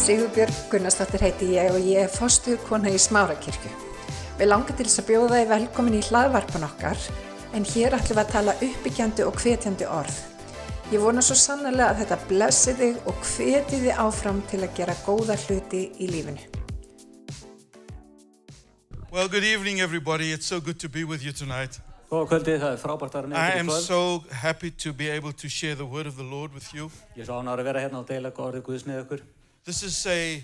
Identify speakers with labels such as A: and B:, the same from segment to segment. A: Sigurbjörg Gunnarsdóttir heiti ég og ég er fostu kona í Smárakirkju. Við langar til þess að bjóða þið velkomin í hlaðvarpan okkar, en hér ætlum við að tala uppbyggjandi og hvetjandi orð. Ég vona svo sannlega að þetta blessi þig og hveti þig áfram til að gera góða hluti í lífinu.
B: Well, good evening, everybody. It's so good to be with you tonight.
C: Góða kvöldið, það er frábært að vera
B: I
C: nefnir í
B: am
C: kvöld.
B: so happy to be able to share the word of the Lord with you.
C: Ég er svo ánar að vera hérna og deila orðið Guðs með ykkur.
B: This is a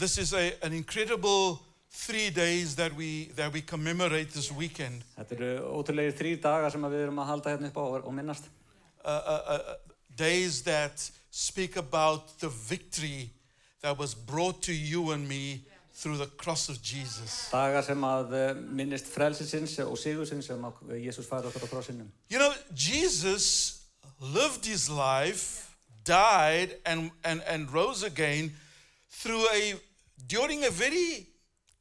B: this is a, an incredible three days that we that we commemorate this weekend.
C: Þetta eru ótrúlegir þrýr dagar sem að við erum að halda hérna upp á og og minnast.
B: Uh, uh, uh, uh, days that speak about the victory that was brought to you and me through the cross of Jesus.
C: Dagar sem að eh, minnist frelsisins og sigursins sem að Jésús færi okkur á krossinum.
B: You know, Jesus lived his life, died, and, and, and rose again through a during a very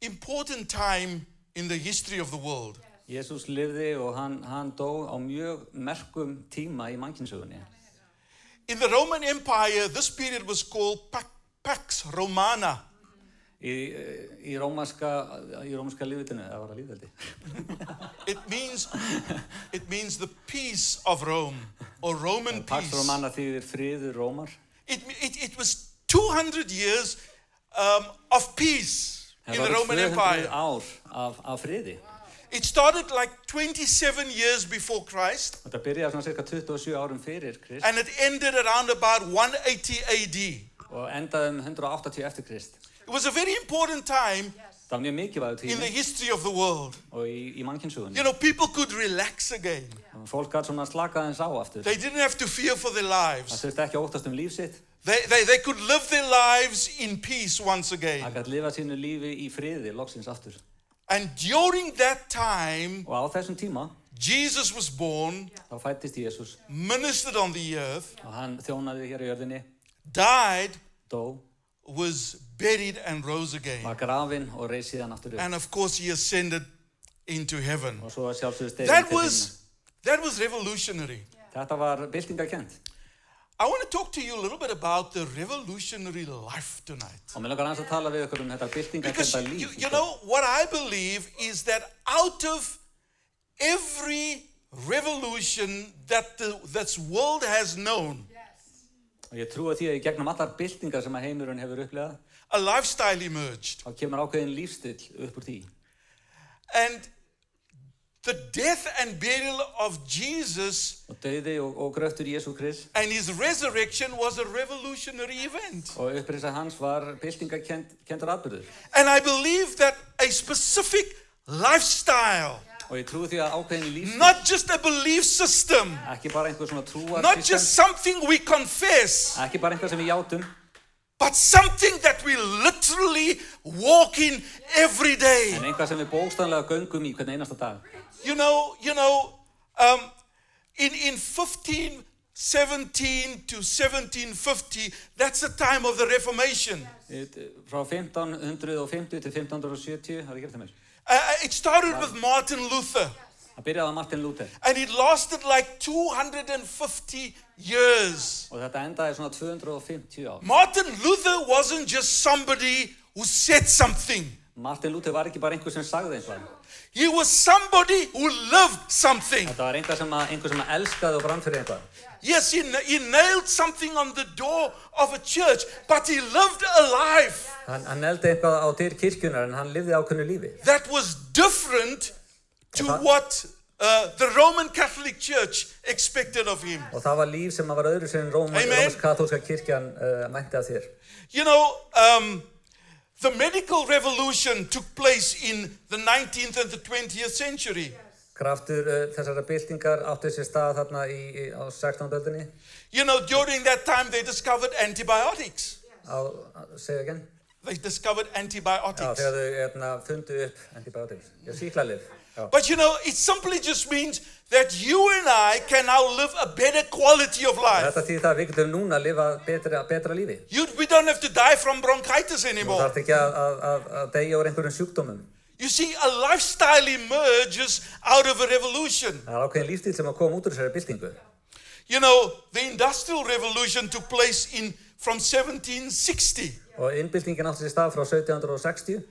B: important time in the history of the world.
C: Jésús lifði og hann, hann dó á mjög merkum tíma í mannkynnsugunni.
B: In the Roman Empire, this period was called Pax, Pax Romana.
C: Í, eh, í rómaska, í rómaska lífutinu, það var að lífveldi.
B: It means it means the peace of Rome or Roman
C: Pax
B: peace.
C: Romana þýðir friður rómar.
B: It, it, it was 200 years um, of peace in the
C: voru
B: Roman
C: 200
B: Empire.
C: ár af, af friði.
B: It started like 27 years before Christ
C: Þetta byrjaði svona cirka 27 árum fyrir Krist.
B: and it ended around about 180 AD.
C: og endaði um 180 eftir Krist.
B: It was a very important time
C: Það var mjög mikilvægur
B: in the
C: tími
B: history of the world.
C: og í, í mannkynnsugunni.
B: You know, people could relax again.
C: Fólk gæti svona slakað eins á aftur.
B: They didn't have to fear for their
C: Það
B: lives.
C: þurfti ekki að óttast um líf sitt.
B: They, they, they could live their lives in peace once
C: Það
B: again.
C: gæti lifa sínu lífi í friði loksins aftur.
B: And during that time,
C: Og á þessum tíma
B: Jesus was born,
C: þá fættist Jésús
B: ministered on the earth,
C: og hann þjónaði hér í jörðinni,
B: died,
C: dó,
B: was buried, and rose again.
C: var grafinn og reis síðan aftur upp.
B: And of course, he ascended into heaven.
C: Og svo sjálfsögur stegið
B: That was that was revolutionary.
C: Þetta var byltingarkent.
B: I want to talk to you a little bit about the revolutionary life tonight.
C: Og mér langar aðeins að tala við ykkur um þetta
B: Because
C: byltingarkenta
B: you,
C: líf.
B: you know what I believe is that out of every revolution that the this world has known,
C: Og ég trúi því að í gegnum allar byltingar sem að heimurinn hefur upplegað,
B: a lifestyle emerged.
C: þá kemur ákveðin lífstill upp úr því.
B: And the death and burial of Jesus
C: og döiði og, og gröftur Jésu Krist
B: and his resurrection was a revolutionary event.
C: og upprisa hans var byltingakendur atbyrður
B: And I believe that a specific lifestyle
C: og ég trúi því að ákveðin líf
B: not just a belief system,
C: ekki bara einhver svona trúar
B: not
C: system,
B: just something we confess,
C: ekki bara einhver sem við játum
B: but something that we literally walk in every day.
C: en einhver sem við bóstanlega göngum í hvern einasta dag
B: You know, you know, um, in in 1517 to 1750, that's the time of the Reformation.
C: It- frá 1550 til 1570 hafði ég gert það mér
B: Uh, it started with Martin Luther,
C: það byrjaði að Martin Luther
B: and it lasted like 250 years.
C: og þetta endaði svona 250 ár
B: Martin Luther wasn't just somebody who said something.
C: Martin Luther var ekki bara einhver sem sagði einhver
B: He was somebody who loved something.
C: þetta var einhver sem, að, einhver sem að elskaði og brann fyrir einhver
B: Yes, he, na- he nailed something on the door of a church, but he lived a life
C: hann, hann eldi einhver á dyr kirkjunar en hann lifði ákveðinu lífi
B: that was different to
C: Eva?
B: what uh, the Roman Catholic Church expected of him.
C: Og það var líf sem að var öðru sem
B: Amen.
C: Rómans-katólska kirkjan uh, mænti að þér.
B: You know, um, the medical revolution took place in the 19th and the 20th century.
C: Kraftur uh, þessara byltingar áttu sér stað þarna í, í, á 16. öldinni,
B: You know, during that time, they discovered antibiotics.
C: á, á- segðu ekki,
B: They discovered
C: já,
B: antibiotics.
C: þegar þau hérna, fundu upp antibiotics, já, síklarlif. Já.
B: But you know, it simply just means that you and I can now live a better quality of life.
C: Þetta þýðir það að við getum núna að lifa betra, betra lífi.
B: You, we don't have to die from bronchitis
C: Það
B: anymore.
C: þarf ekki að, að, að, að deyja úr einhverjum sjúkdómum.
B: You see, a lifestyle emerges out of a revolution.
C: Það er ákveðin lífstíl sem að koma út úr þessari byltingu.
B: You know, the Industrial Revolution took place in from 1760.
C: og innbyltingin átti sér stað frá 1760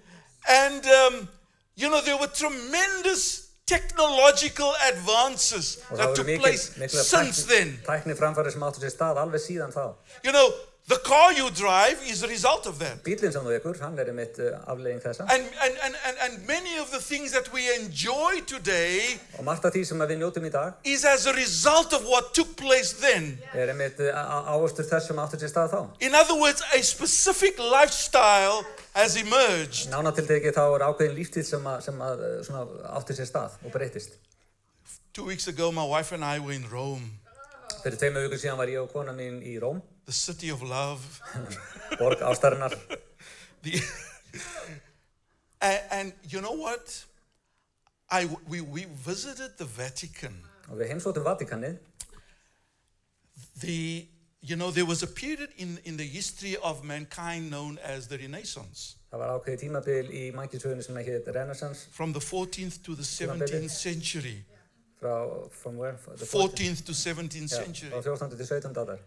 B: And, um, you know, there were tremendous technological advances
C: og
B: that
C: það
B: took
C: voru mikil,
B: place
C: mikla
B: since then.
C: tækni framfæri sem átti sér stað alveg síðan þá.
B: You know, the car you drive is a result of that.
C: Bílinn sem þú ekur, hann er einmitt uh, afleiðing þessa
B: And, and, and, and, and many of the things that we enjoy today
C: og margt af því sem að við njótum í dag
B: is as a result of what took place then.
C: er einmitt uh, ávöxtur þess sem átti sér stað þá.
B: In other words, a specific lifestyle has emerged.
C: Nána til tekið þá er ákveðin líftíð sem, að, sem að, uh, svona, átti sér stað og breytist.
B: Two weeks ago, my wife and I were in Rome,
C: Fyrir tveimur vikur síðan var ég og kona mín í Róm,
B: the city of love.
C: borg ástarinnar
B: The- and, and you know what? I, we, we visited the Vatican.
C: og við heimsóttum Vatikanið
B: The, you know, there was a period in, in the history of mankind known as the Renaissance.
C: Það var ákveðið tímabil í mannkynnsögunni sem hétt Renaissance
B: From the 14th to the 17th century.
C: frá, from where? The
B: 14th to 17th
C: Já,
B: century.
C: frá 14. til 17. aldar.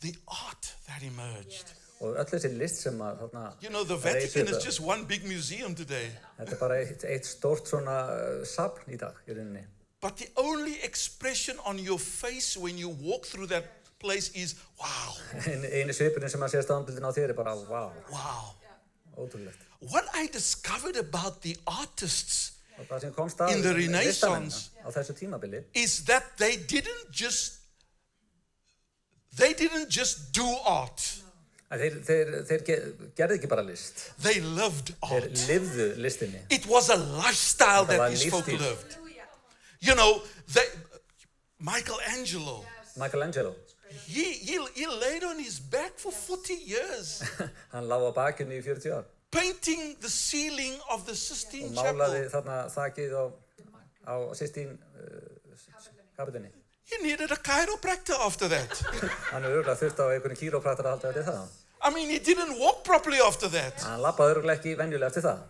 B: The art that emerged.
C: Og öll þessi list sem að þarna,
B: You know, the
C: That is
B: Vatican is
C: it, uh,
B: just one big museum today.
C: þetta er bara eitt, eitt stórt svona uh, safn í dag í rauninni.
B: But the only expression on your face when you walk through that place is wow,
C: Ein, einu svipurinn sem að sér standbildin á þér er bara, wow,
B: wow.
C: ótrúlegt.
B: What I discovered about the artists
C: Og það sem kom stað
B: In the Renaissance.
C: á þessu tímabili
B: is that they didn't just they didn't just do art.
C: að þeir, þeir, þeir ge, gerði ekki bara list,
B: They lived
C: þeir
B: art.
C: lifðu listinni.
B: It was a lifestyle
C: Well,
B: that
C: I
B: these
C: lived
B: folk
C: it.
B: lived. You know, they, Michelangelo,
C: Michelangelo,
B: he, he, he laid on his back for 40 years,
C: hann lág á bakinu í 40 ár
B: painting the ceiling of the
C: og
B: Sistine
C: málaði
B: Chapel.
C: þarna þakið á, á Sistín uh, kapitinni.
B: He needed a chiropractor after that.
C: Hann er örgulega þurft á einhvern kýrópratar að halda eftir það.
B: I mean, he didn't walk properly after that.
C: Hann lappaði örgulega ekki venjulega eftir það.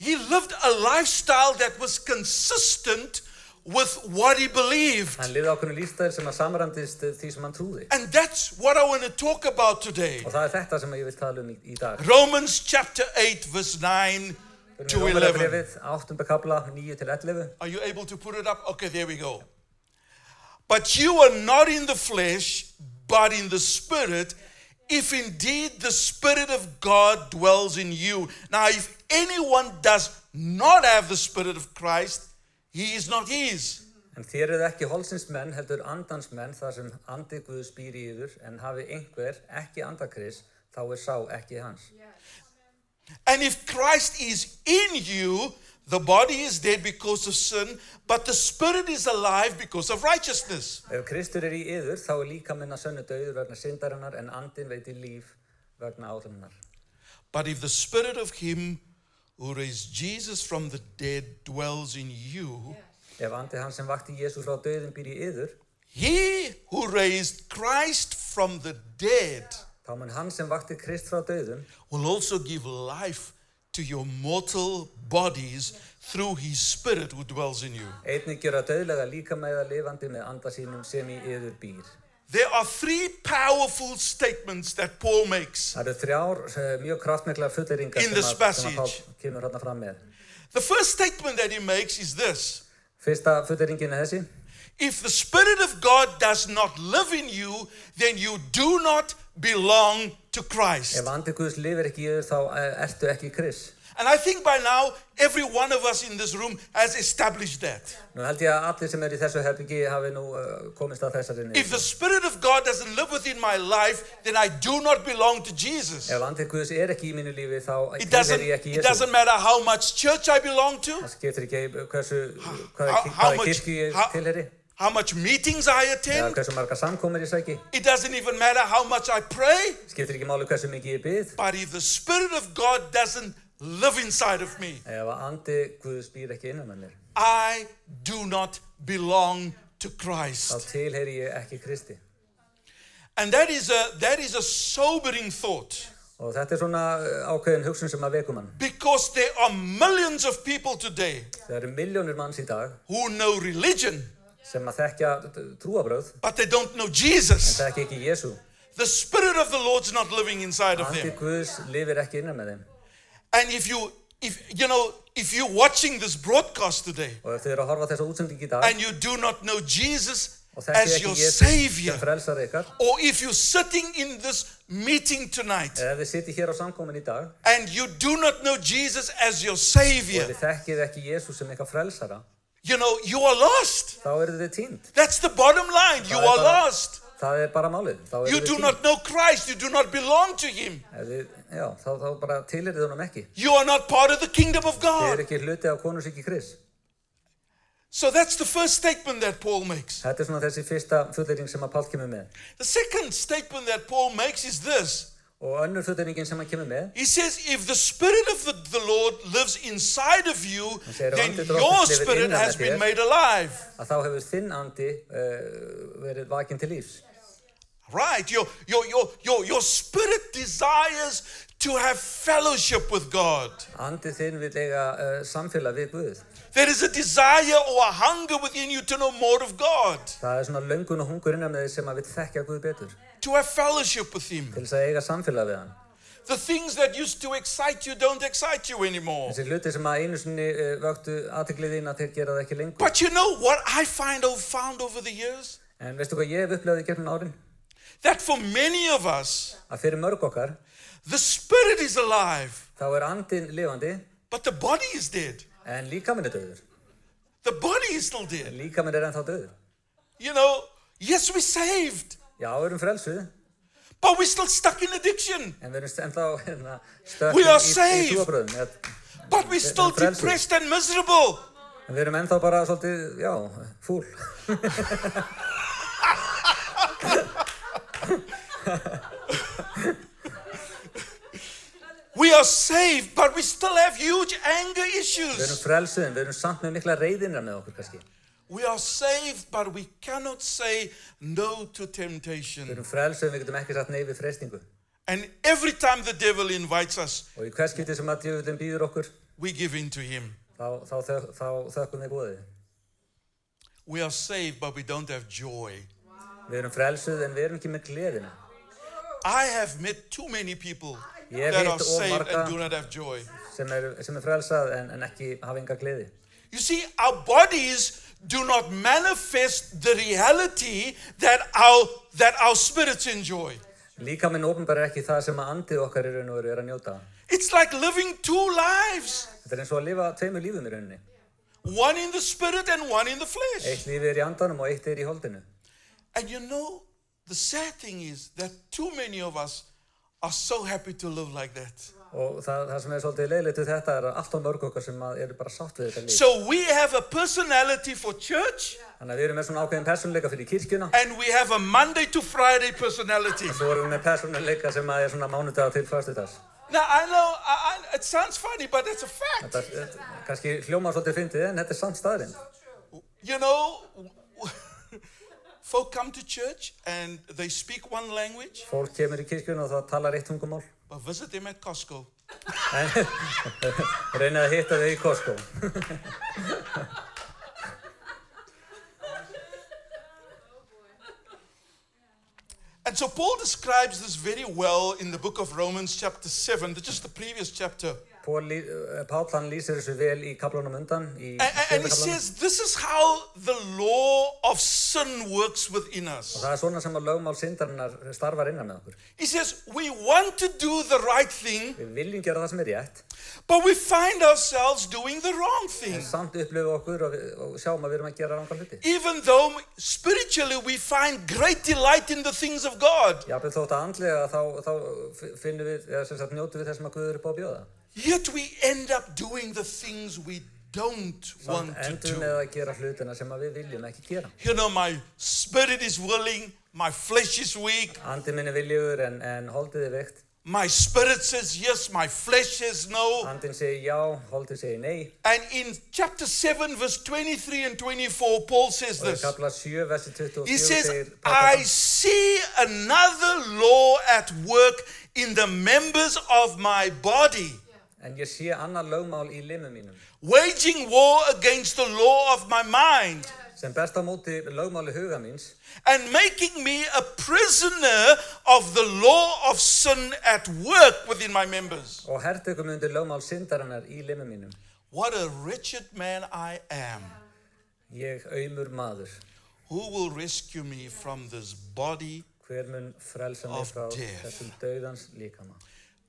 B: He lived a lifestyle that was consistent with what he believed.
C: Hann lifði ákveðinu lífstæðir sem að samræmdist því sem hann trúði.
B: And that's what I want to talk about today.
C: Og það er þetta sem ég vil tala um í, í dag.
B: Romans chapter 8, verse 9 to 11.
C: Rómalabrefið, 8. kabla, 9 til 11.
B: Are you able to put it up? Okay, there we go. But you are not in the flesh, but in the spirit, if indeed the spirit of God dwells in you. Now, if anyone does not have the spirit of Christ, he is not his.
C: En þér eru ekki holsins menn, heldur andans menn, þar sem andi Guðs býr í yður, en hafi einhver ekki andakris, þá er sá ekki hans.
B: And if Christ is in you, the body is dead because of sin, but the spirit is alive because of righteousness.
C: Ef Kristur er í yður, þá er líka minna sönnu döður vegna syndarinnar, en andin veitir líf vegna áhrinnar.
B: But if the spirit of him who raised Jesus from the dead dwells in you,
C: Ef andi hans sem vakti Jésu frá döðin býr í yður,
B: he who raised Christ from the dead
C: þá mun hann sem vakti Krist frá döðum
B: will also give life to your mortal bodies through his spirit who dwells in you.
C: einnig gjöra döðlega líka með að lifandi með anda sínum sem í yður býr.
B: There are three powerful statements that Paul makes.
C: Það eru þrjár eh, mjög kraftmikla fulleringar
B: In
C: sem,
B: this
C: að- sem að
B: passage.
C: Pál kemur hérna fram með.
B: The first statement that he makes is this.
C: Fyrsta fulleringin er þessi.
B: If the Spirit of God does not live in you, then you do not belong to Christ.
C: Ef andi Guðs lifir ekki í yður þá eh, ertu ekki kris.
B: And I think by now, every one of us in this room has established that.
C: Nú held ég að allir sem eru í þessu herbyggi hafi nú eh, komist að þessari
B: If the
C: niður.
B: Spirit of God doesn't live within my life, then I do not belong to Jesus.
C: Ef andi Guðs er ekki í mínu lífi þá
B: It
C: lifir
B: doesn't,
C: ég ekki í
B: it
C: Jésu.
B: doesn't matter how much church I belong to,
C: Það skiptir ekki eh, hversu,
B: How-
C: hvaða
B: how
C: hvaða
B: much-
C: kirkju ég
B: how-
C: tilheri.
B: how much meetings I
C: Eða
B: attend.
C: hversu marga samkomur ég sæki.
B: It doesn't even matter how much I pray.
C: Skiptir ekki máli hversu mikið ég byð.
B: But if the Spirit of God doesn't live inside of me,
C: Ef að andi Guðs býr ekki innan um með mér
B: I do not belong to Christ.
C: þá tilheri ég ekki Kristi.
B: And that is a that is a sobering thought
C: Og þetta er svona eh, ákveðin hugsun sem að vekum hann.
B: because there are millions of people today
C: Það eru miljónir manns í dag
B: who know religion
C: sem að þekkja trúabröð,
B: but they don't know
C: en
B: Jesus.
C: þekki ekki Jésu.
B: The Spirit of the Lord's not living inside of
C: Andi
B: them.
C: Guðs lifir ekki innan með þeim.
B: And if you, if you know, if you're watching this broadcast today
C: Og ef þið eru að horfa á þessa útsending í dag
B: and you do not know Jesus
C: og þekkið
B: as
C: ekki
B: your
C: Jésus sem
B: Savior,
C: frelsar ykkar,
B: or if you're sitting in this meeting tonight
C: eða ef þið sitið hér á samkomin í dag
B: and you do not know Jesus as your
C: og
B: Savior,
C: þið þekkið ekki Jésus sem ykkar frelsara,
B: you know, you are lost.
C: þá eru þið týnd.
B: That's the bottom line. You are lost.
C: Það er bara málið. Þá eru
B: You
C: þið
B: do
C: týnd.
B: not know Christ. You do not belong to Him.
C: Ef Þið, já, þá, þá bara tilherið honum ekki.
B: You are not part of the kingdom of
C: Þið eru
B: God.
C: ekki hluti af konusíki Kris.
B: So that's the first statement that Paul makes.
C: Þetta er svona þessi fyrsta fullering sem að Páll kemur með.
B: The second statement that Paul makes is this
C: Og önnur fulleringin sem hann kemur með,
B: He says, If the Spirit of the, the Lord lives inside of you,
C: segir,
B: then
C: "Andi
B: your
C: drottins lifir
B: spirit
C: innan
B: has
C: með
B: been
C: þér."
B: made alive.
C: að þá hefur þinn andi uh, verið vakin til lífs.
B: Right? Your, your, your, your, your spirit desires to have fellowship with God.
C: Andið þinn vil eiga uh, samfélag við Guð.
B: There is a desire or a hunger within you to know more of God,
C: Það er svona löngun og hungur innan með þið sem að vil þekkja Guð betur.
B: to have fellowship with Him.
C: Til þess að eiga samfélag við hann.
B: The things that used to excite you don't excite you anymore.
C: Þessi hluti sem að einu sinni uh, vöktu aðteklið þín að þeir gera það ekki lengur.
B: But you know what I find over, found over the years?
C: En veistu hvað ég hef upplegað í gegnum árin?
B: That for many of us,
C: Að fyrir mörg okkar,
B: the spirit is alive,
C: þá er andin lifandi
B: but the body is dead.
C: en líkaminn er döður.
B: The body is still dead.
C: Líkaminn er ennþá döður.
B: You know, yes, we're saved,
C: Já, við erum frelsuð,
B: but we're still stuck in addiction.
C: en við erum ennþá hérna, stökk
B: We
C: í,
B: are
C: í, í
B: saved.
C: trúabröðum. eða-
B: But we're still
C: frelsuð.
B: depressed and miserable.
C: En við erum ennþá bara svolítið, já, fúl.
B: We are saved, but we still have huge anger
C: Við erum
B: issues.
C: frelsuð, en við erum samt með mikla reyðinra með okkur kannski.
B: We are saved, but we cannot say no to
C: Við
B: temptation.
C: erum frelsuð, en við getum ekki satt nei við freystingu.
B: And every time the devil invites us,
C: Og í hvers skipti sem að djöfullin býður okkur,
B: we give in to him.
C: þá, þá, þá, þá þökkum við bóðið.
B: We are saved, but we don't have joy.
C: Við erum frelsuð, en við erum ekki með gleðina.
B: I have met too many people
C: Ég hef
B: that are
C: hitt of
B: saved
C: marga-
B: and do not have joy.
C: Sem er, sem er frelsað, en, en ekki hafa enga gleði.
B: You see, our bodies do not manifest the reality that our that our spirits enjoy.
C: Líkaminn ofinbæri ekki það sem að andið okkar í raun og veru er að njóta.
B: It's like living two lives,
C: Þetta er eins og að lifa tveimur lífum í rauninni.
B: one in the spirit and one in the flesh.
C: Eitt lífið er í andanum og eitt er í holdinu.
B: And you know, the sad thing is that too many of us are so happy to live like that.
C: Og það, það sem er svolítið leiðilegt við þetta er að allt á mörg okkar sem að eru bara sátt við þetta líf.
B: So we have a personality for church
C: Þannig að við erum með svona ákveðin persónuleika fyrir kirkjuna.
B: and we have a Monday to Friday personality.
C: Svo erum við með persónuleika sem að er svona mánudaga til fyrstudags.
B: Now I know I, I, it sounds funny, but it's a fact.
C: Þetta er eh, kannski hljómar svolítið fyndið en þetta er samt staðurinn.
B: You know, folk come to church and they speak one language,
C: Fólk kemur í kirkjuna og það talar eitt tungumál.
B: but visit them at Costco.
C: Reynið að hitta þau í Costco.
B: And so Paul describes this very well in the book of Romans, chapter 7, the- just the previous chapter.
C: Pól lí- eh, Páll hann lýsir þessu vel í kaplunum undan.
B: And, and-
C: Í
B: and he
C: sjöunda kaflanum.
B: says, This is how the law of sin works within us.
C: Það er svona sem að lögmál syndarinnar starfar innan með okkur.
B: He says, We want to do the right thing,
C: Við viljum gera það sem er rétt,
B: but we find ourselves doing the wrong
C: en
B: thing.
C: samt upplifu okkur og, við, og sjáum að við erum að gera ranga hluti.
B: Even though spiritually we find great delight in the things of God,
C: Jafnveg þótt að andlega þá, þá fi- finnum við, eða sem sagt njótu við þessum að Guður er búið að bjóða.
B: Yet we end up doing the things we don't
C: Samt
B: want to
C: endum
B: do.
C: með að gera hlutina sem að við viljum ekki gera.
B: You know, my spirit is willing, my flesh is weak.
C: Andi minni viljugur en, en holdið er veikt.
B: My spirit says yes, my flesh says no.
C: Andin segir já, holdið segir nei.
B: And in chapter 7, verse 23 and 24, Paul says
C: Og í
B: this
C: kapla 7, versi
B: He
C: 24
B: says,
C: segir
B: I
C: Páll,
B: see another law at work in the members of my body,
C: en ég sé annað lögmál í limum mínum
B: waging war against the law of my mind.
C: sem berst á móti lögmáli huga míns
B: and making me a prisoner of the law of sin at work within my members.
C: og hertökum undir lögmál syndarinnar í limmi mínum.
B: What a wretched man I am.
C: Ég aumur maður,
B: Who will rescue me from this body?
C: hver mun frelsa mig
B: Of
C: frá
B: death.
C: þessum dauðans líkama.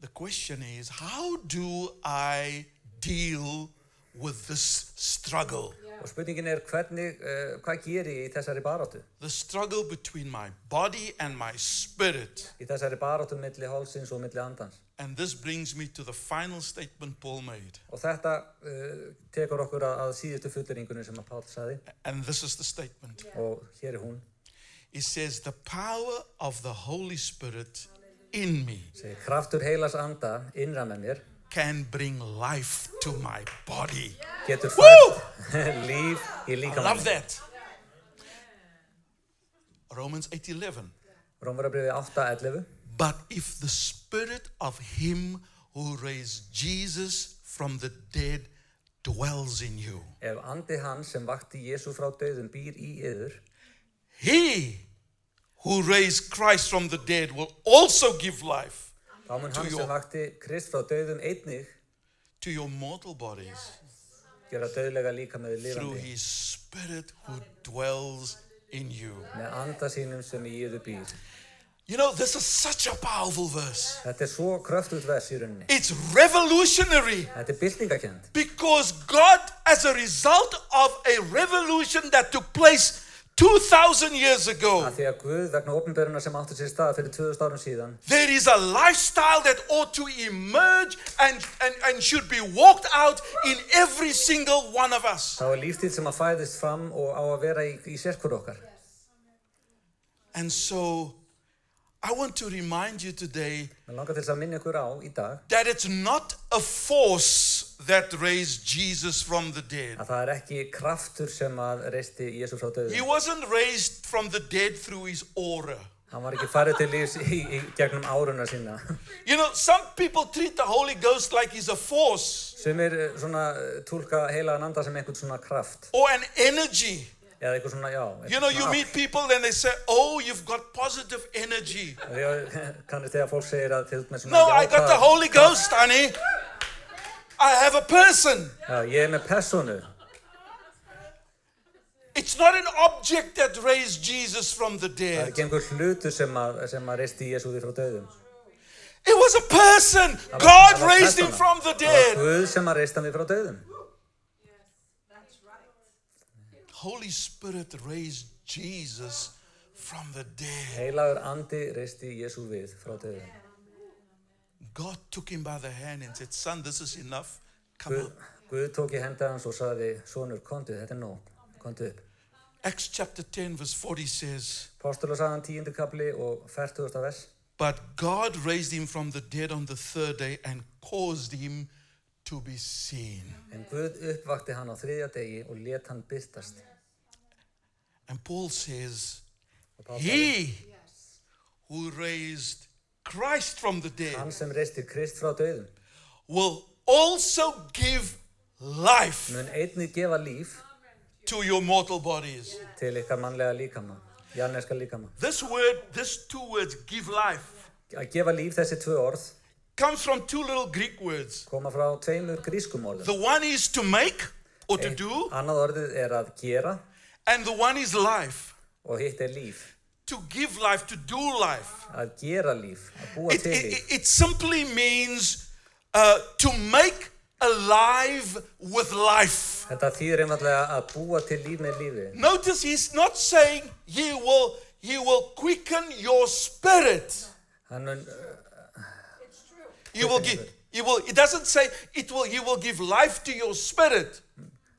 B: The question is how do I deal with this struggle?
C: Og spurningin er hvernig, uh, hvað gerir ég í þessari baráttu?
B: The struggle between my body and my spirit.
C: Í þessari baráttu milli hálsins og milli andans.
B: And this brings me to the final statement Paul made.
C: Og þetta uh, tekur okkur að, að síðustu fulleringunum sem að Páll saði
B: And this is the statement.
C: og hér er hún,
B: It says, The power of the Holy Spirit in me
C: segir kraftur heilas anda innra með mér
B: can bring life to my body.
C: getur
B: Woo!
C: fært líf í
B: I love
C: líkamann.
B: that. Romans 8 11.
C: Rómurabriði 8.11
B: But if the spirit of him who raised Jesus from the dead dwells in you,
C: Ef andi hann sem vakti Jésu frá döðum býr í yður,
B: he who raised Christ from the dead will also give life
C: þá mun hann
B: To your-
C: sem vakti Krist frá döðum einnig
B: to your mortal bodies
C: gera döðlega líka með
B: through
C: lifandi
B: his spirit who dwells in you.
C: með anda sínum sem í yður býr.
B: You know, this is such a powerful verse.
C: Þetta er svo kröftut vers í rauninni.
B: It's revolutionary
C: Þetta er byltingakend.
B: because God, as a result of a revolution that took place 2,000 years ago,
C: Af því að Guð vegna ofnböruna sem átti sér stað fyrir 2000 árum síðan
B: There is a lifestyle that ought to emerge and, and, and should be walked out in every single one of us.
C: þá er lífstíð sem að fæðist fram og á að vera í, í sérkur okkar.
B: And so I want to remind you today
C: Mér langar til þess að minna ykkur á í dag
B: that it's not a force that raised Jesus from the dead.
C: að það er ekki kraftur sem að reisti Jésu frá
B: He
C: döðum.
B: wasn't raised from the dead through his aura.
C: Hann var ekki farið til lífs í, í gegnum áruna sína.
B: You know, some people treat the Holy Ghost like he's a force
C: Sem er eh, svona eh, túlka heilagan anda sem einhvern svona kraft
B: or an energy.
C: eða einhvern svona, já. einhvern
B: You know,
C: svona
B: you meet people and they say, Oh, you've got positive energy.
C: afl. Því að kannist þegar fólk segir að þið ert með svona
B: No, I got the
C: jákvæða-
B: Holy Ghost, honey. I have a person.
C: Já, ég er með personu.
B: It's not an object that raised Jesus from the
C: Það er
B: dead.
C: ekki einhver hlutur sem að, sem að reisti Jésúði frá döðum.
B: It was a person.
C: Það var-
B: God
C: það var
B: raised him
C: persóna.
B: from the
C: Það var
B: dead.
C: Guð sem að reist hann við frá döðum.
B: Holy Spirit raised Jesus from the dead.
C: Heilagur andi reisti Jésu við frá döðum.
B: God took him by the hand and said, Son, this is enough. Come
C: Guð,
B: on.
C: Guð tók í henda hans og saði, sonur, komdu, þetta er nóg, komdu upp.
B: Acts chapter 10, verse 40 says,
C: Postula saðan tíundu kapli og færtugasta vers.
B: But God raised him from the dead on the third day and caused him to be seen.
C: En Guð uppvakti hann á þriðja degi og let hann byrtast.
B: And Paul says,
C: Og Páll sagði,
B: He who raised Christ from the
C: Hann
B: dead
C: sem reistir Krist frá döðum
B: will also give life
C: mun einnið gefa líf
B: to your mortal bodies.
C: til ykkar mannlega líkama, jarneska líkama.
B: This word, these two words, give life,
C: Að gefa líf þessi tvö orð
B: comes from two little Greek words.
C: koma frá tveimur grískum orðum.
B: The one is to make or
C: Eh.
B: to do,
C: Annað orðið er að gera
B: and the one is life.
C: og hitt er líf.
B: To give life, to do life.
C: Að gera líf, að búa
B: It,
C: til
B: it,
C: líf.
B: it- it simply means uh, to make alive with life.
C: Þetta þýðir einfallega að búa til líf með lífi.
B: Notice he's not saying he will he will quicken your spirit.
C: Hann mun,
B: He will give he will it doesn't say it will he will give life to your spirit.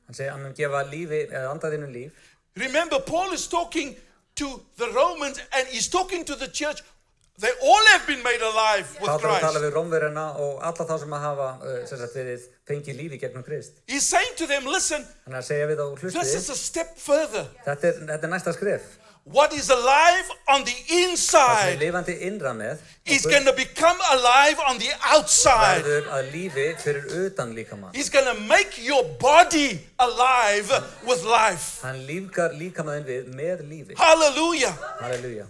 C: hann segir, hann mun gefa lífi, eða andaðinu líf.
B: Remember Paul is talking to the Romans and he's talking to the church. They all have been made alive
C: Þá
B: with
C: þarf að tala
B: Christ.
C: við rómverjana og alla þá sem að hafa, uh, sem sagt, verið fengið lífi gegnum Krist.
B: He's saying to them, listen,
C: Þannig að segja við þá
B: this
C: hlustið,
B: is a step further.
C: þetta er, þetta er næsta skref.
B: what is alive on the
C: Það sem er
B: inside
C: lifandi innra með
B: is
C: okkur
B: going to become alive on the outside.
C: verður að lífi fyrir utan líkamann.
B: He's going to make your body alive with life.
C: Hann lífgar líkamann við með lífi.
B: Hallelujah.
C: Halleluja.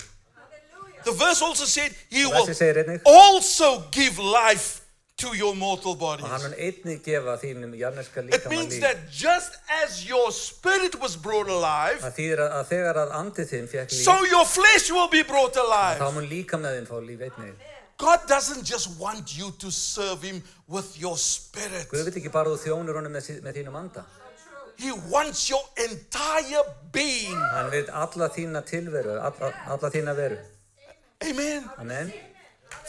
B: The verse also said, He will
C: Versi segir einnig
B: also give life to your mortal bodies.
C: og hann mun einnig gefa þínum jarneska
B: It
C: líkamann
B: means
C: líf.
B: that just as your spirit was brought alive,
C: Það þýðir að, að þegar að andið þinn fekk líf,
B: so your flesh will be brought
C: þá
B: alive.
C: mun líkamann þinn fá líf einnig.
B: God doesn't just want you to serve Him with your spirit,
C: Guð vil ekki bara þú þjónur honum með, sí- með þínum anda.
B: He wants your entire being.
C: Hann vil alla þína tilveru, alla, alla þína veru.
B: Amen.
C: Amen.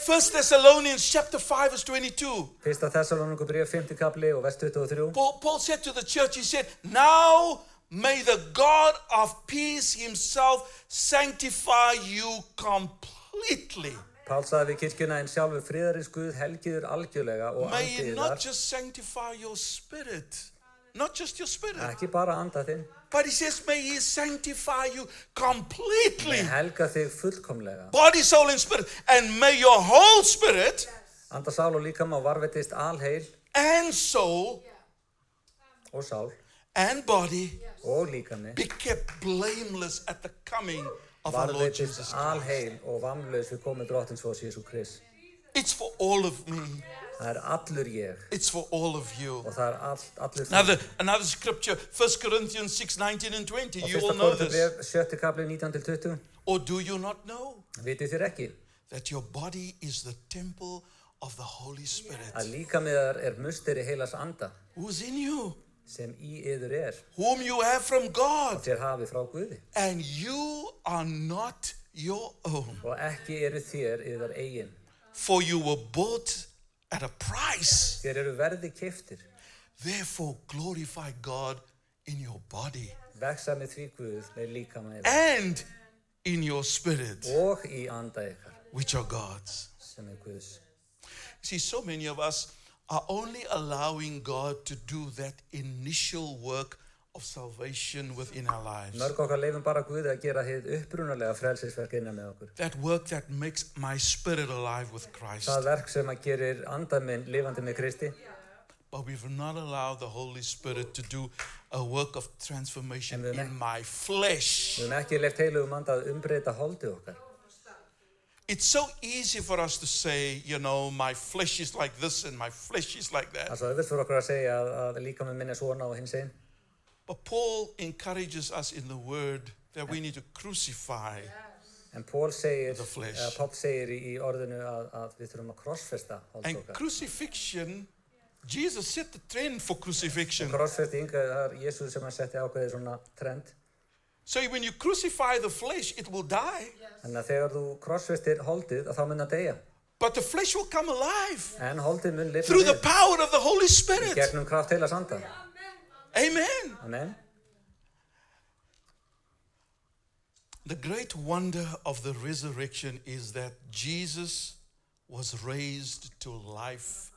B: First Thessalonians chapter 5, verse 22.
C: Fyrsta Þessalónuku bríða 5. kapli og vest 23.
B: Paul, Paul said to the church, he said, Now may the God of peace himself sanctify you completely.
C: Pál saði við kirkjuna en sjálfur friðarins Guð helgiður algjörlega og
B: May he
C: andiðar,
B: not just sanctify your spirit, not just your spirit,
C: ekki bara anda þinn,
B: but he says, May he sanctify you completely,
C: en helga þig fullkomlega.
B: body, soul, and spirit, and may your whole spirit
C: Anda sál og líkam og varvetist alheil
B: and soul
C: og sál
B: and body
C: og líkami.
B: be kept blameless at the coming of our Lord Jesus
C: Varvetist
B: Christ.
C: alheil og vamlaus við komið dróttins fós Jésu Krist.
B: It's for all of me.
C: Það er allur ég
B: It's for all of you.
C: og það er all, allur þú.
B: Another, another scripture, 1 Corinthians 6 19 and 20.
C: Og
B: You all
C: fyrsta
B: know
C: kortu
B: this.
C: bríða 7. kapli 19-20.
B: Or do you not know
C: Vitið þér ekki
B: that your body is the temple of the Holy
C: að
B: Spirit
C: líkamiðar er musteri heilas anda
B: who's in you,
C: sem í yður er
B: whom you have from
C: og
B: God,
C: þér hafið frá Guði
B: and you are not your own?
C: og ekki eru þér yðar eigin.
B: For you were bought at a price.
C: Þér eru verði keftir.
B: Therefore, glorify God in your body
C: Veksa með því Guð með líkama yðar
B: and in your spirit,
C: og í anda ykkar
B: which are God's.
C: sem er Guðs.
B: See, so many of us are only allowing God to do that initial work of salvation within our lives.
C: Mörg okkar leifum bara Guði að gera hið upprunalega frelsisverk innan með okkur.
B: That work that makes my spirit alive with Christ.
C: Það verk sem að gerir andan minn lifandi með Kristi
B: But we've not allowed the Holy Spirit to do a work of transformation
C: Amen.
B: in my flesh.
C: Við höfum ekki leift heilugum anda að umbreyta holdið okkar.
B: It's so easy for us to say, you know, my flesh is like this and my flesh is like
C: Það er
B: that.
C: svo auðvitað fyrir okkur að segja að, að líka með minna svona og hins einn.
B: But Paul encourages us in the word that we need to crucify.
C: En Pól segir,
B: The flesh.
C: eða Pál segir í, í orðinu að, að við þurfum að krossfesta holdið
B: And
C: okkar.
B: crucifixion, Jesus set the trend for crucifixion.
C: Crossfitting, það er Jésús sem hann setti ákveðið svona trend.
B: So when you crucify the flesh, it will die,
C: Þannig að þegar þú crossfittir holdið, að þá mun það deyja.
B: but the flesh will come alive
C: En holdið mun lifa
B: through the
C: við
B: power of the Holy Spirit.
C: gegnum kraft heila sanda.
B: Amen.
C: Amen.
B: The great wonder of the resurrection is that Jesus was raised to life,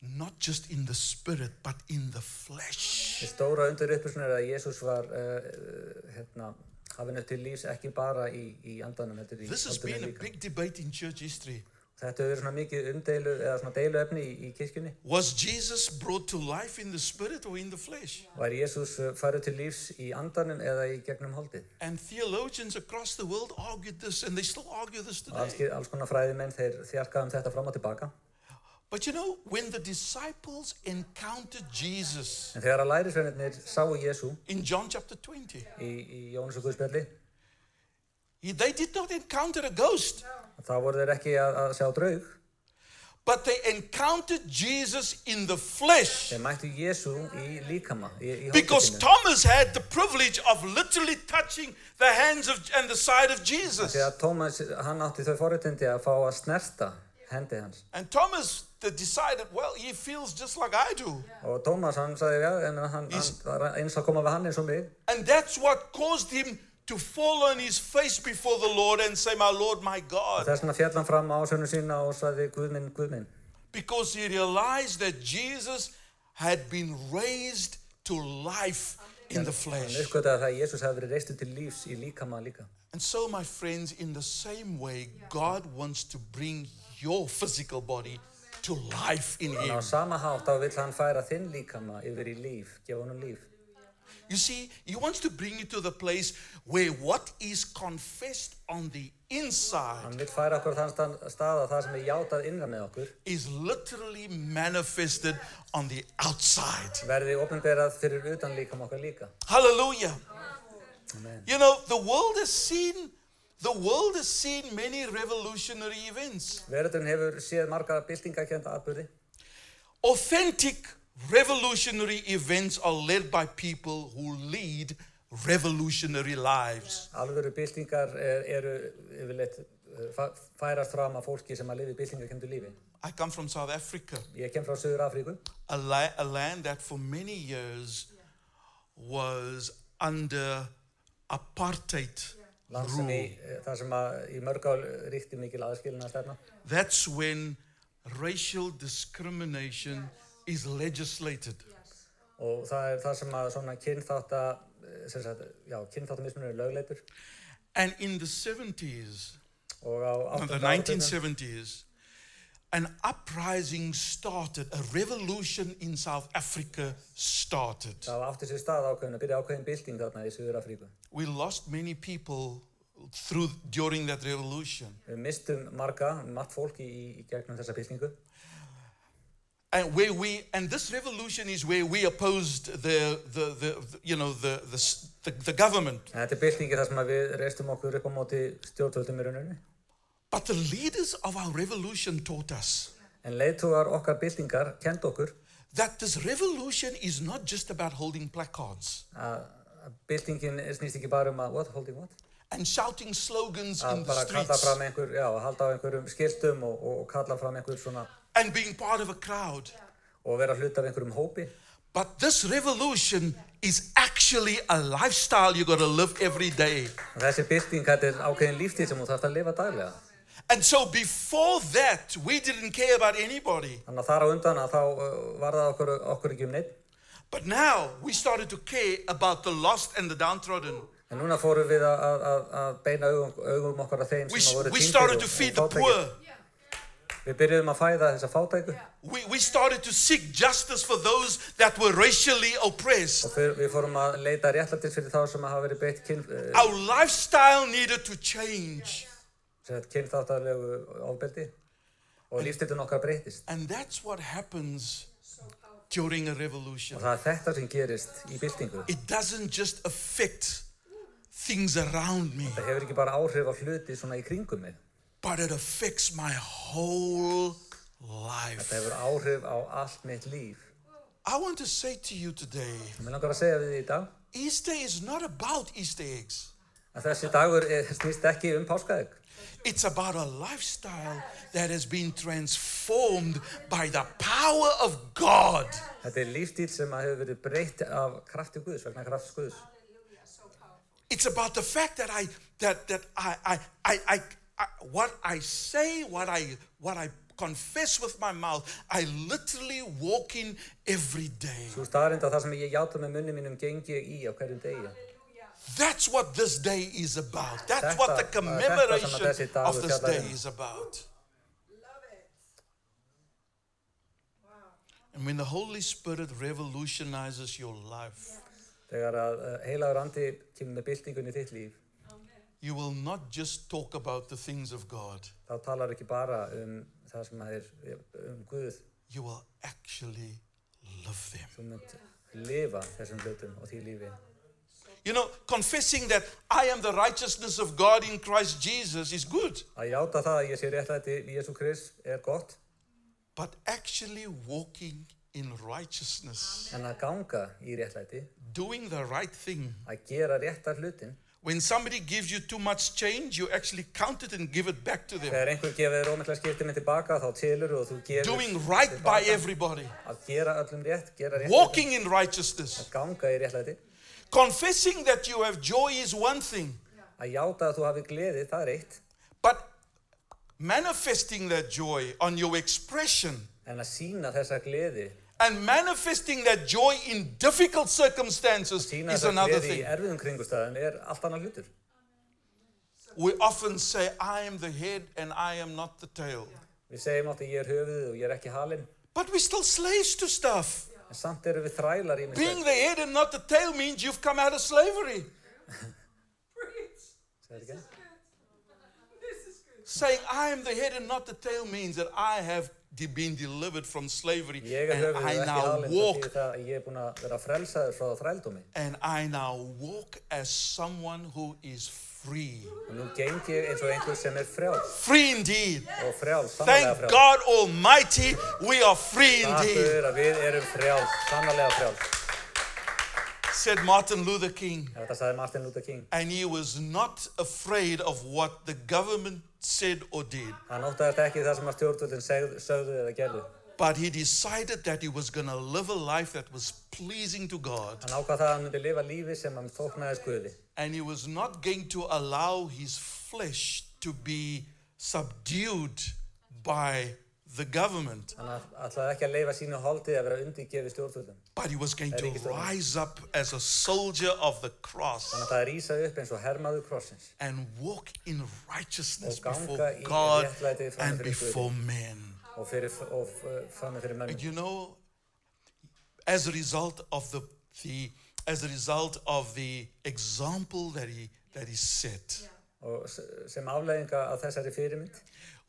B: not just in the spirit, but in the flesh.
C: Þið stóra undir upprýsuna er að Jésús var uh, hérna, hafinn upp til lífs ekki bara í, í andanum, heldur í
B: This has been a
C: holdinu líka.
B: big debate in church history.
C: Þetta hefur verið svona mikið umdeilu eða svona deiluefni í, í kirkjunni.
B: Was Jesus brought to life in the spirit or in the flesh?
C: Var Jésús farið til lífs í andanum eða í gegnum holdið?
B: And theologians across the world argued this, and they still argue this
C: Og Alls,
B: today.
C: alls konar fræðimenn þeir þjarkaðum þetta fram og tilbaka.
B: But you know, when the disciples encountered Jesus
C: En þegar að lærisveinirnir sáu Jésu
B: in John chapter 20,
C: í, í Jónus og Guðspjalli,
B: he- they did not encounter a ghost,
C: þá voru þeir ekki að, að sjá draug.
B: but they encountered Jesus in the flesh.
C: Þeir mættu Jésu í líkama, í, í
B: Because
C: holdið
B: Thomas had the privilege of literally touching the hands of, and the side of Jesus.
C: Þegar Tómas, hann átti þau forréttindi að fá að snerta hendi hans.
B: And Thomas they decided, well, he feels just like I do.
C: Og Tómas, hann sagði, já, en hann, hann
B: Ís-
C: það er eins að koma við hann eins og mig.
B: And that's what caused him to fall on his face before the Lord and say, My Lord, my God.
C: Þess vegna fjall hann fram á sönnu sína og sagði, Guð minn, Guð minn.
B: because he realized that Jesus had been raised to life in the
C: Hann
B: flesh.
C: uppgötaði það að Jésús hafi verið reistur til lífs í líkama líka.
B: And so, my friends, in the same way, God wants to bring your physical body to life in
C: En á
B: Him.
C: sama hátt þá vill hann færa þinn líkama yfir í líf, gefa honum líf.
B: You see, He wants to bring you to the place where what is confessed on the inside
C: Hann vill færa okkur á þann stan- stað að það sem er játað innra með okkur
B: is literally manifested on the outside.
C: verði ofnberað fyrir utan líkama okkar líka.
B: Hallelujah.
C: Amen.
B: You know, the world has seen the world has seen many revolutionary events.
C: Veröldun hefur séð marga byltingakenda atbyrði.
B: Authentic revolutionary events are led by people who lead revolutionary lives.
C: Alvöru byltingar er, eru yfirleitt eh, fa- færast fram af fólki sem að lifi byltingakendu lífi.
B: I come from South Africa,
C: Ég kem frá Suður Afríku,
B: a, la- a land that for many years was under apartheid
C: land sem í,
B: rule.
C: eh, þar sem að í mörg ál ríkti mikil aðskilina stefna.
B: That's when racial discrimination is legislated.
C: Og það er þar sem að svona kynþátta, eh, sem sagt, já, kynþáttamismunur er lögleitur.
B: And in the 70s,
C: Og á
B: in the
C: 18.
B: 1970s, an uprising started, a revolution in South Africa started.
C: Það átti sér stað ákveðin að byrja ákveðin bylting þarna í Suður Afríku.
B: We lost many people through during that revolution.
C: Við mistum marga, margt fólk í, í gegnum þessa byltingu.
B: And where we and this revolution is where we opposed the the, the, the- you know the, the s- the the government.
C: En þetta er byltingi þar sem að við reistum okkur upp á móti stjórnvöldum í rauninni.
B: But the leaders of our revolution taught us
C: En leiðtúar okkar byltingar kend okkur
B: that this revolution is not just about holding placards
C: að að byltingin snýst ekki bara um að what, holding what?
B: and shouting slogans in
C: Að
B: the
C: bara kalla
B: streets
C: fram einhver, já, að halda á einhverjum skiltum og, og, og kalla fram einhver svona
B: and being part of a crowd.
C: og vera hlut af einhverjum hópi.
B: But this revolution is actually a lifestyle you got to live every day.
C: En þessi bylting, þetta er ákveðin líftíð sem þú þarfst að lifa daglega.
B: And so before that, we didn't care about anybody.
C: Þannig að þar á undan að þá uh, var það okkur, okkur ekki um neitt.
B: But now we started to care about the lost and the downtrodden.
C: En núna fórum við að, að- að, að beina augum, augum okkar að þeim
B: We,
C: sem að voru
B: we
C: týndir
B: started
C: og-
B: to
C: og
B: feed the
C: fátækir.
B: poor.
C: Við byrjuðum að fæða þessa fátæku
B: We, we started to seek justice for those that were racially oppressed.
C: og fyr, við fórum að leita réttlættis fyrir þá sem hafa verið beitt kyn, uh,
B: Our lifestyle needed to change.
C: kynþáttarlegu ofbeldi og lífstildun okkar breytist.
B: And that's what happens during a revolution.
C: Og það er þetta sem gerist í byltingu.
B: It doesn't just affect things around me.
C: Það hefur ekki bara áhrif á hluti svona í kringum mig.
B: but it affects my whole
C: Það
B: life.
C: hefur áhrif á allt mitt líf.
B: I want to say to you today
C: Og mér langar að segja við því í dag
B: Easter is not about Easter eggs,
C: að þessi dagur er, snýst ekki um páskaðeg.
B: it's about a lifestyle that has been transformed by the power of God.
C: Þetta er lífstíl sem að hefur verið breytt af krafti Guðs, vegna krafts Guðs.
B: It's about the fact that I that that I I I, I, I what I say, what I what I confess with my mouth, I literally walk in every day.
C: Þú staðarind að það sem ég játa með munni mínum gengi ég í á hverjum degi.
B: That's what this day is about. That's
C: That's
B: what the
C: the- uh, that's the
B: commemoration
C: Samadhi
B: of
C: Tahu
B: this day
C: Siapa
B: is about. And when the Holy Spirit revolutionizes your life,
C: Þegar að eh, heilagur andi kemur með byltingun í þitt líf,
B: you will not just talk about the things of God,
C: þá talar ekki bara um það sem að er um Guð.
B: you will actually live them.
C: Þú munt lifa þessum hlutum og því lífi.
B: You know, confessing that I am the righteousness of God in Christ Jesus is good,
C: Að játa það að ég sé réttlæti í Jésu Krist er gott,
B: but actually walking in righteousness,
C: en að ganga í réttlæti,
B: doing the right thing,
C: að gera réttar hlutin.
B: When somebody gives you too much change, you actually count it and give it back to them.
C: Þegar einhver gefið þér ómikla skiptinni tilbaka, þá telur og þú gerir
B: Doing right by everybody,
C: að gera öllum rétt, gera rétt,
B: walking in righteousness,
C: að ganga í réttlæti.
B: confessing that you have joy is one thing,
C: Að játa að þú hafi gleði, það er eitt,
B: but manifesting that joy on your expression
C: en að sína þessa gleði
B: And manifesting that joy in difficult circumstances
C: Sýna
B: is
C: þess
B: another
C: að í
B: thing.
C: erfiðum kringustæðum er allt annar hlutur.
B: We often say, I am the head and I am not the tail.
C: Við segjum átt að ég er höfuðið og ég er ekki halinn.
B: But we're still slaves to stuff.
C: En samt erum við þrælar í
B: Being the head and not the tail means you've come out of slavery.
C: minnstæðum.
B: Saying, I am the head and not the tail means that I have de- been delivered from slavery
C: Ég er
B: and
C: höfuðið og
B: I
C: ekki
B: now
C: halinn. Það
B: walk
C: þýðir það að ég er búin að vera frelsaður frá þrældómi.
B: and I now walk as someone who is free.
C: Og nú geng ég eins og einhver sem er frjáls.
B: Free indeed.
C: Og frjáls, sannlega
B: Thank
C: frjáls.
B: God Almighty, we are free
C: Takk
B: indeed,
C: fyrir að við erum frjáls, sannlega frjáls.
B: said Martin Luther King.
C: Þetta sagði Martin Luther King.
B: And he was not afraid of what the government said or did,
C: Hann óttaðist ekki það sem að stjórnvöldin segð- sögðu eða gerðu.
B: but he decided that he was going to live a life that was pleasing to God.
C: Hann ákvað það að hann myndi lifa lífi sem hann þóknaðist Guði.
B: And he was not going to allow his flesh to be subdued by the government,
C: Hann ætl- ætlaði ekki að leifa sínu holdi að vera undirgefið stjórnvöldum.
B: but he was going
C: That
B: to
C: is the-
B: rise up as a soldier of the
C: Hann
B: cross
C: ætlaði að rýsa upp eins og hermaður krossins.
B: and walk in righteousness
C: Og ganga
B: before
C: í
B: God
C: réttlæti fram
B: and
C: fyrir
B: before men.
C: og fyrir og framið fyrir
B: And
C: mönnum
B: you know, as a result of the, the as a result of the example that he that he set,
C: og s- sem afleiðinga af þessari fyrirmynd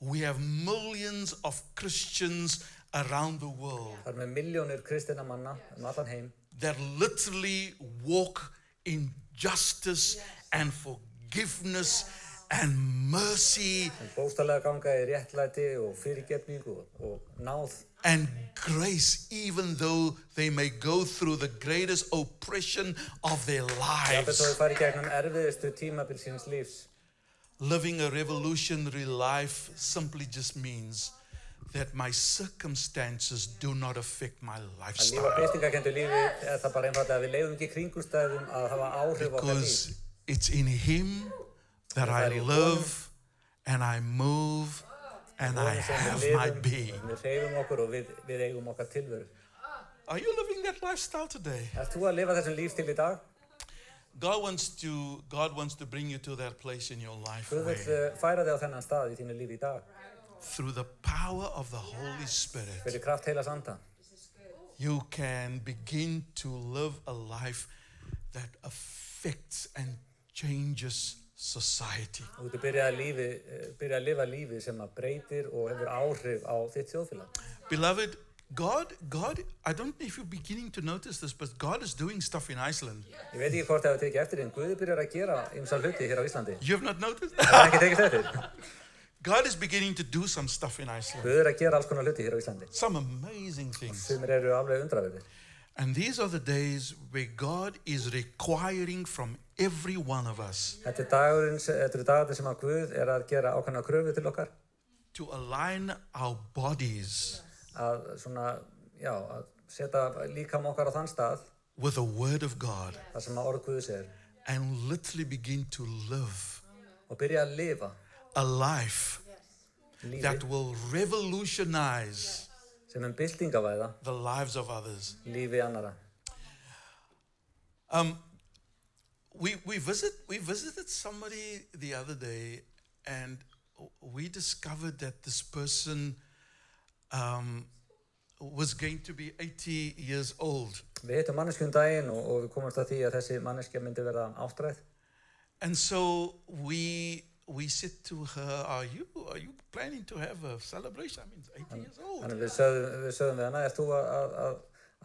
B: we have millions of Christians around the world
C: þar með miljónir kristina manna um allan heim
B: that literally walk in justice and forgiveness and mercy
C: sem bóstalega ganga í réttlæti og fyrirgefningu og, og náð
B: and grace, even though they may go through the greatest oppression of their
C: jafnveg þó
B: lives.
C: þau farið gegnum erfiðustu tímabil síns lífs
B: Living a revolutionary life simply just means that my circumstances do not affect my
C: að lífa
B: lifestyle
C: byrtingakendu lífi er það bara einfallega að við leiðum ekki kringumstæðum að hafa áhrif á okkar líf
B: because it's in Him that I live and I move and I have
C: við
B: my being.
C: lifum, við reyfum okkur og við, við eigum okkar tilveru
B: Are you living that lifestyle today?
C: Erst þú að lifa þessum lífstil í dag?
B: God wants to God wants to bring you to that place in your life
C: Guð vill
B: where,
C: eh, færa þig á þennan stað í þínu lífi í dag
B: through the power of the Holy Spirit
C: fyrir kraft heila sanda
B: you can begin to live a life that affects and changes society.
C: Þú getur byrjað að, lífi, eh, byrjað að lifa lífi sem að breytir og hefur áhrif á þitt þjóðfélag.
B: Beloved, God, God, I don't know if you're beginning to notice this, but God is doing stuff in Iceland.
C: Ég veit ekki hvort það hefur tekið eftir því, en Guði byrjar að gera ymsa hluti hér á Íslandi.
B: You have not noticed?
C: Það er ekki tekist eftir.
B: God is beginning to do some stuff in Iceland.
C: Guði er að gera alls konar hluti hér á Íslandi.
B: Some amazing things.
C: Sumir eru alveg undraverðir.
B: And these are the days where God is requiring from every one of us
C: Þetta er dagurinn, se- þetta eru dagarnir sem að Guð er að gera ákveðna kröfu til okkar
B: to align our bodies
C: að svona, já, að setja líkam okkar á þann stað
B: with the Word of God
C: þar sem að orð Guðs er
B: and literally begin to live
C: og byrja að lifa
B: a life that
C: lífi
B: will revolutionize
C: sem um byltingavæða
B: the lives of others.
C: lífi annara.
B: Um, we, we, visit, we visited somebody the other day and we discovered that this person um, was going to be 80 years old.
C: Við hittum manneskjum daginn og, og við komumst að því að þessi manneskja myndi verða ástræð
B: And so we, we said to her, are you, are you planning to have a celebration? I mean, it's 80 years old.
C: Þannig við sögðum við, sögðum við hana, er þú að, að, að,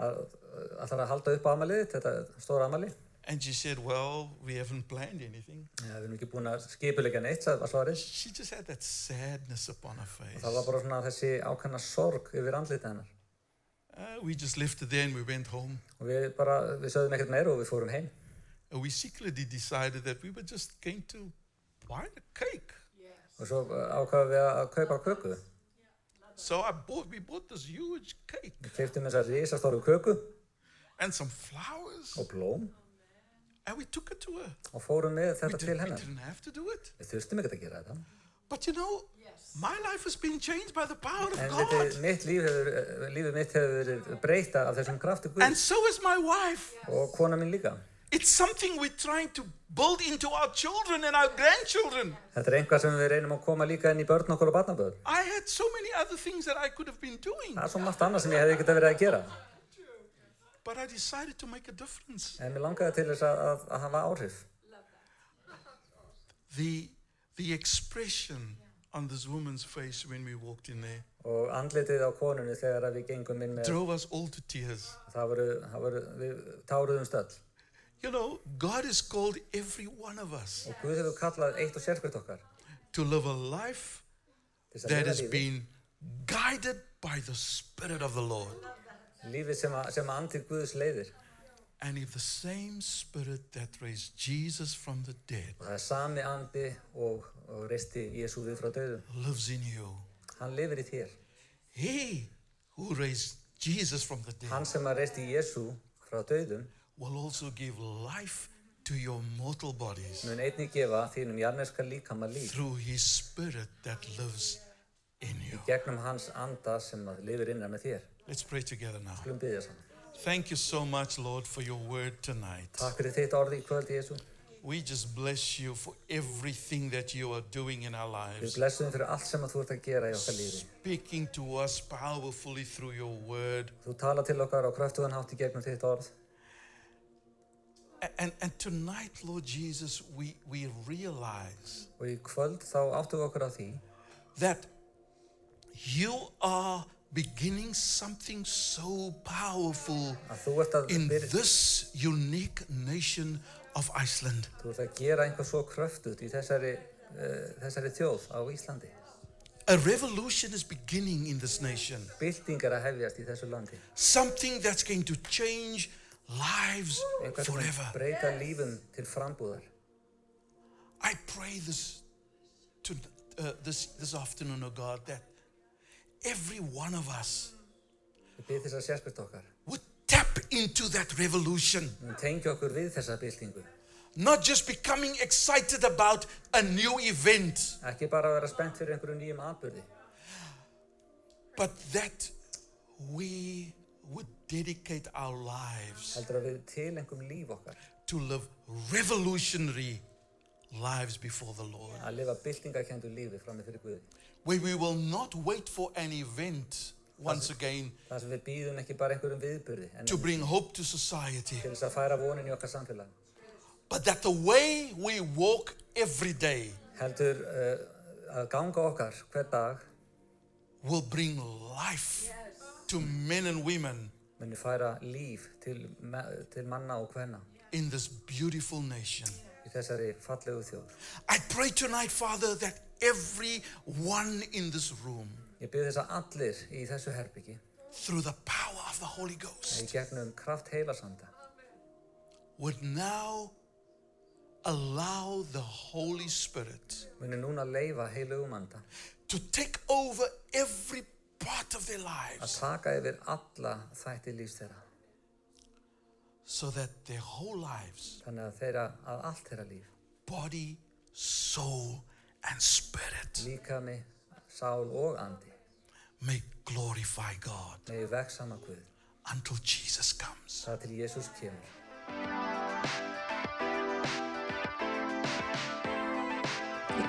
C: að, að ætlar að halda upp amalið, þetta stóra amalið?
B: And she said, well, we haven't planned anything.
C: Já, við erum ekki búin að skipuleika neitt, sagði var svarið.
B: She just had that sadness upon her face.
C: Það var bara svona þessi ákveðna sorg yfir andlitið hennar.
B: Uh, we just left it there and we went home.
C: Og við bara, við sögðum ekkert meira og við fórum heim.
B: And we secretly decided that we were just going to buy the cake.
C: Og svo ákvaðum við að kaupa köku.
B: So I bought, we bought this huge cake
C: Við keiptum þess að risastóru köku
B: and some flowers,
C: og blóm
B: and we took it to her.
C: og fórum með
B: We
C: þetta til
B: didn't, we
C: hennar.
B: didn't have to do it.
C: Við þurftum ekkert að gera þetta.
B: But you know, my life has been changed by the power of
C: En
B: God.
C: vitið, mitt líf hefur, eh, lífið mitt hefur verið breyta af þessum krafti
B: And
C: Guðs
B: so is my wife.
C: og kona mín líka.
B: It's something we're trying to build into our children and our grandchildren.
C: Þetta er einhvað sem við reynum að koma líka inn í börn okkur og barnabörn.
B: I had so many other things that I could have been doing,
C: Það er svo margt annað sem ég hefði ekkert verið að gera.
B: but I decided to make a difference.
C: En mér langaði til þess að, að, að hafa áhrif.
B: The, the expression on this woman's face when we walked in there
C: Og andlitið á konunni þegar að við gengum inn með,
B: drove us all to tears.
C: það voru, það voru, við táruðum stöll.
B: You know, God has called every one of us
C: Og Guð hefur kallað eitt og sérkvæmt okkar.
B: to live a life
C: til þess að
B: that
C: lifa
B: has
C: lífi.
B: been guided by the Spirit of the Lord.
C: Lífið sem, að, sem að andið Guðs leiðir.
B: And if the same Spirit that raised Jesus from the dead
C: Og það er sami andi og, og reisti Jésu við frá döðum.
B: lives in you,
C: Hann lifir í þér.
B: He who raised Jesus from the dead
C: Hann sem að reisti Jésu frá döðum
B: will also give life to your mortal bodies
C: mun einnig gefa þínum jarneska líkama líf
B: through His Spirit that lives in you.
C: gegnum hans anda sem að lifir innan með þér.
B: Let's pray together now.
C: Glum byggja saman.
B: Thank you so much, Lord, for your word tonight.
C: Takk fyrir þitt orði í kvöld, Jésu.
B: We just bless you for everything that you are doing in our
C: Við
B: lives.
C: blessum fyrir allt sem að þú ert að gera í okkar lífi.
B: Speaking to us powerfully through your word.
C: Þú tala til okkar á kraftugan hátt í gegnum þitt orð.
B: A- And, and tonight, Lord Jesus, we, we realize
C: Og í kvöld þá áttum við okkur á því
B: that you are beginning something so powerful
C: að þú ert að,
B: in
C: byrja,
B: this unique nation of Iceland.
C: þú ert að gera einhver svo kröftut í þessari, uh, þessari þjóð á Íslandi.
B: A revolution is beginning in this nation,
C: Bylting er að hefjast í þessu landi.
B: something that's going to change lives
C: Einhver sem mun
B: forever.
C: breyta lífum til frambúðar.
B: I pray this to uh, this this afternoon, oh God, that every one of us
C: Við byrjum þess að sérspyrt okkar.
B: would tap into that revolution,
C: Við tengjum okkur við þessa byltingu.
B: not just becoming excited about a new event,
C: Ekki bara að vera spennt fyrir einhverju nýjum atbyrði.
B: but that we would dedicate our lives
C: Heldur að við tilengum líf okkar.
B: to live revolutionary lives before the Lord,
C: Að lifa byltingakendu lífi fram með fyrir Guði.
B: where we will not wait for an event once again
C: Það sem við býðum ekki bara einhverjum viðbyrði. En
B: to
C: til
B: bring hope to society.
C: þess að færa vonin í okkar samfélag.
B: but that the way we walk every day
C: Heldur uh, að ganga okkar hver dag
B: will bring life to men and women
C: muni færa líf til, me- til manna og hvenna
B: in this beautiful nation.
C: í þessari fallegu þjóð.
B: I pray tonight, Father, that every one in this room,
C: Ég byrð þess að allir í þessu herbyggi
B: through the power of the Holy
C: í
B: Ghost,
C: gegnum kraft heilasanda
B: would now allow the Holy Spirit
C: muni núna leifa heilugum anda
B: to take over every part of their
C: að
B: lives
C: taka yfir alla þætti lífs þeirra
B: so that their whole lives,
C: þannig að þeirra að allt þeirra líf
B: body, soul, and spirit,
C: líkami, sál og andi
B: may glorify God
C: megi veksama Guð
B: until Jesus comes.
C: það til Jésús kemur
A: Ég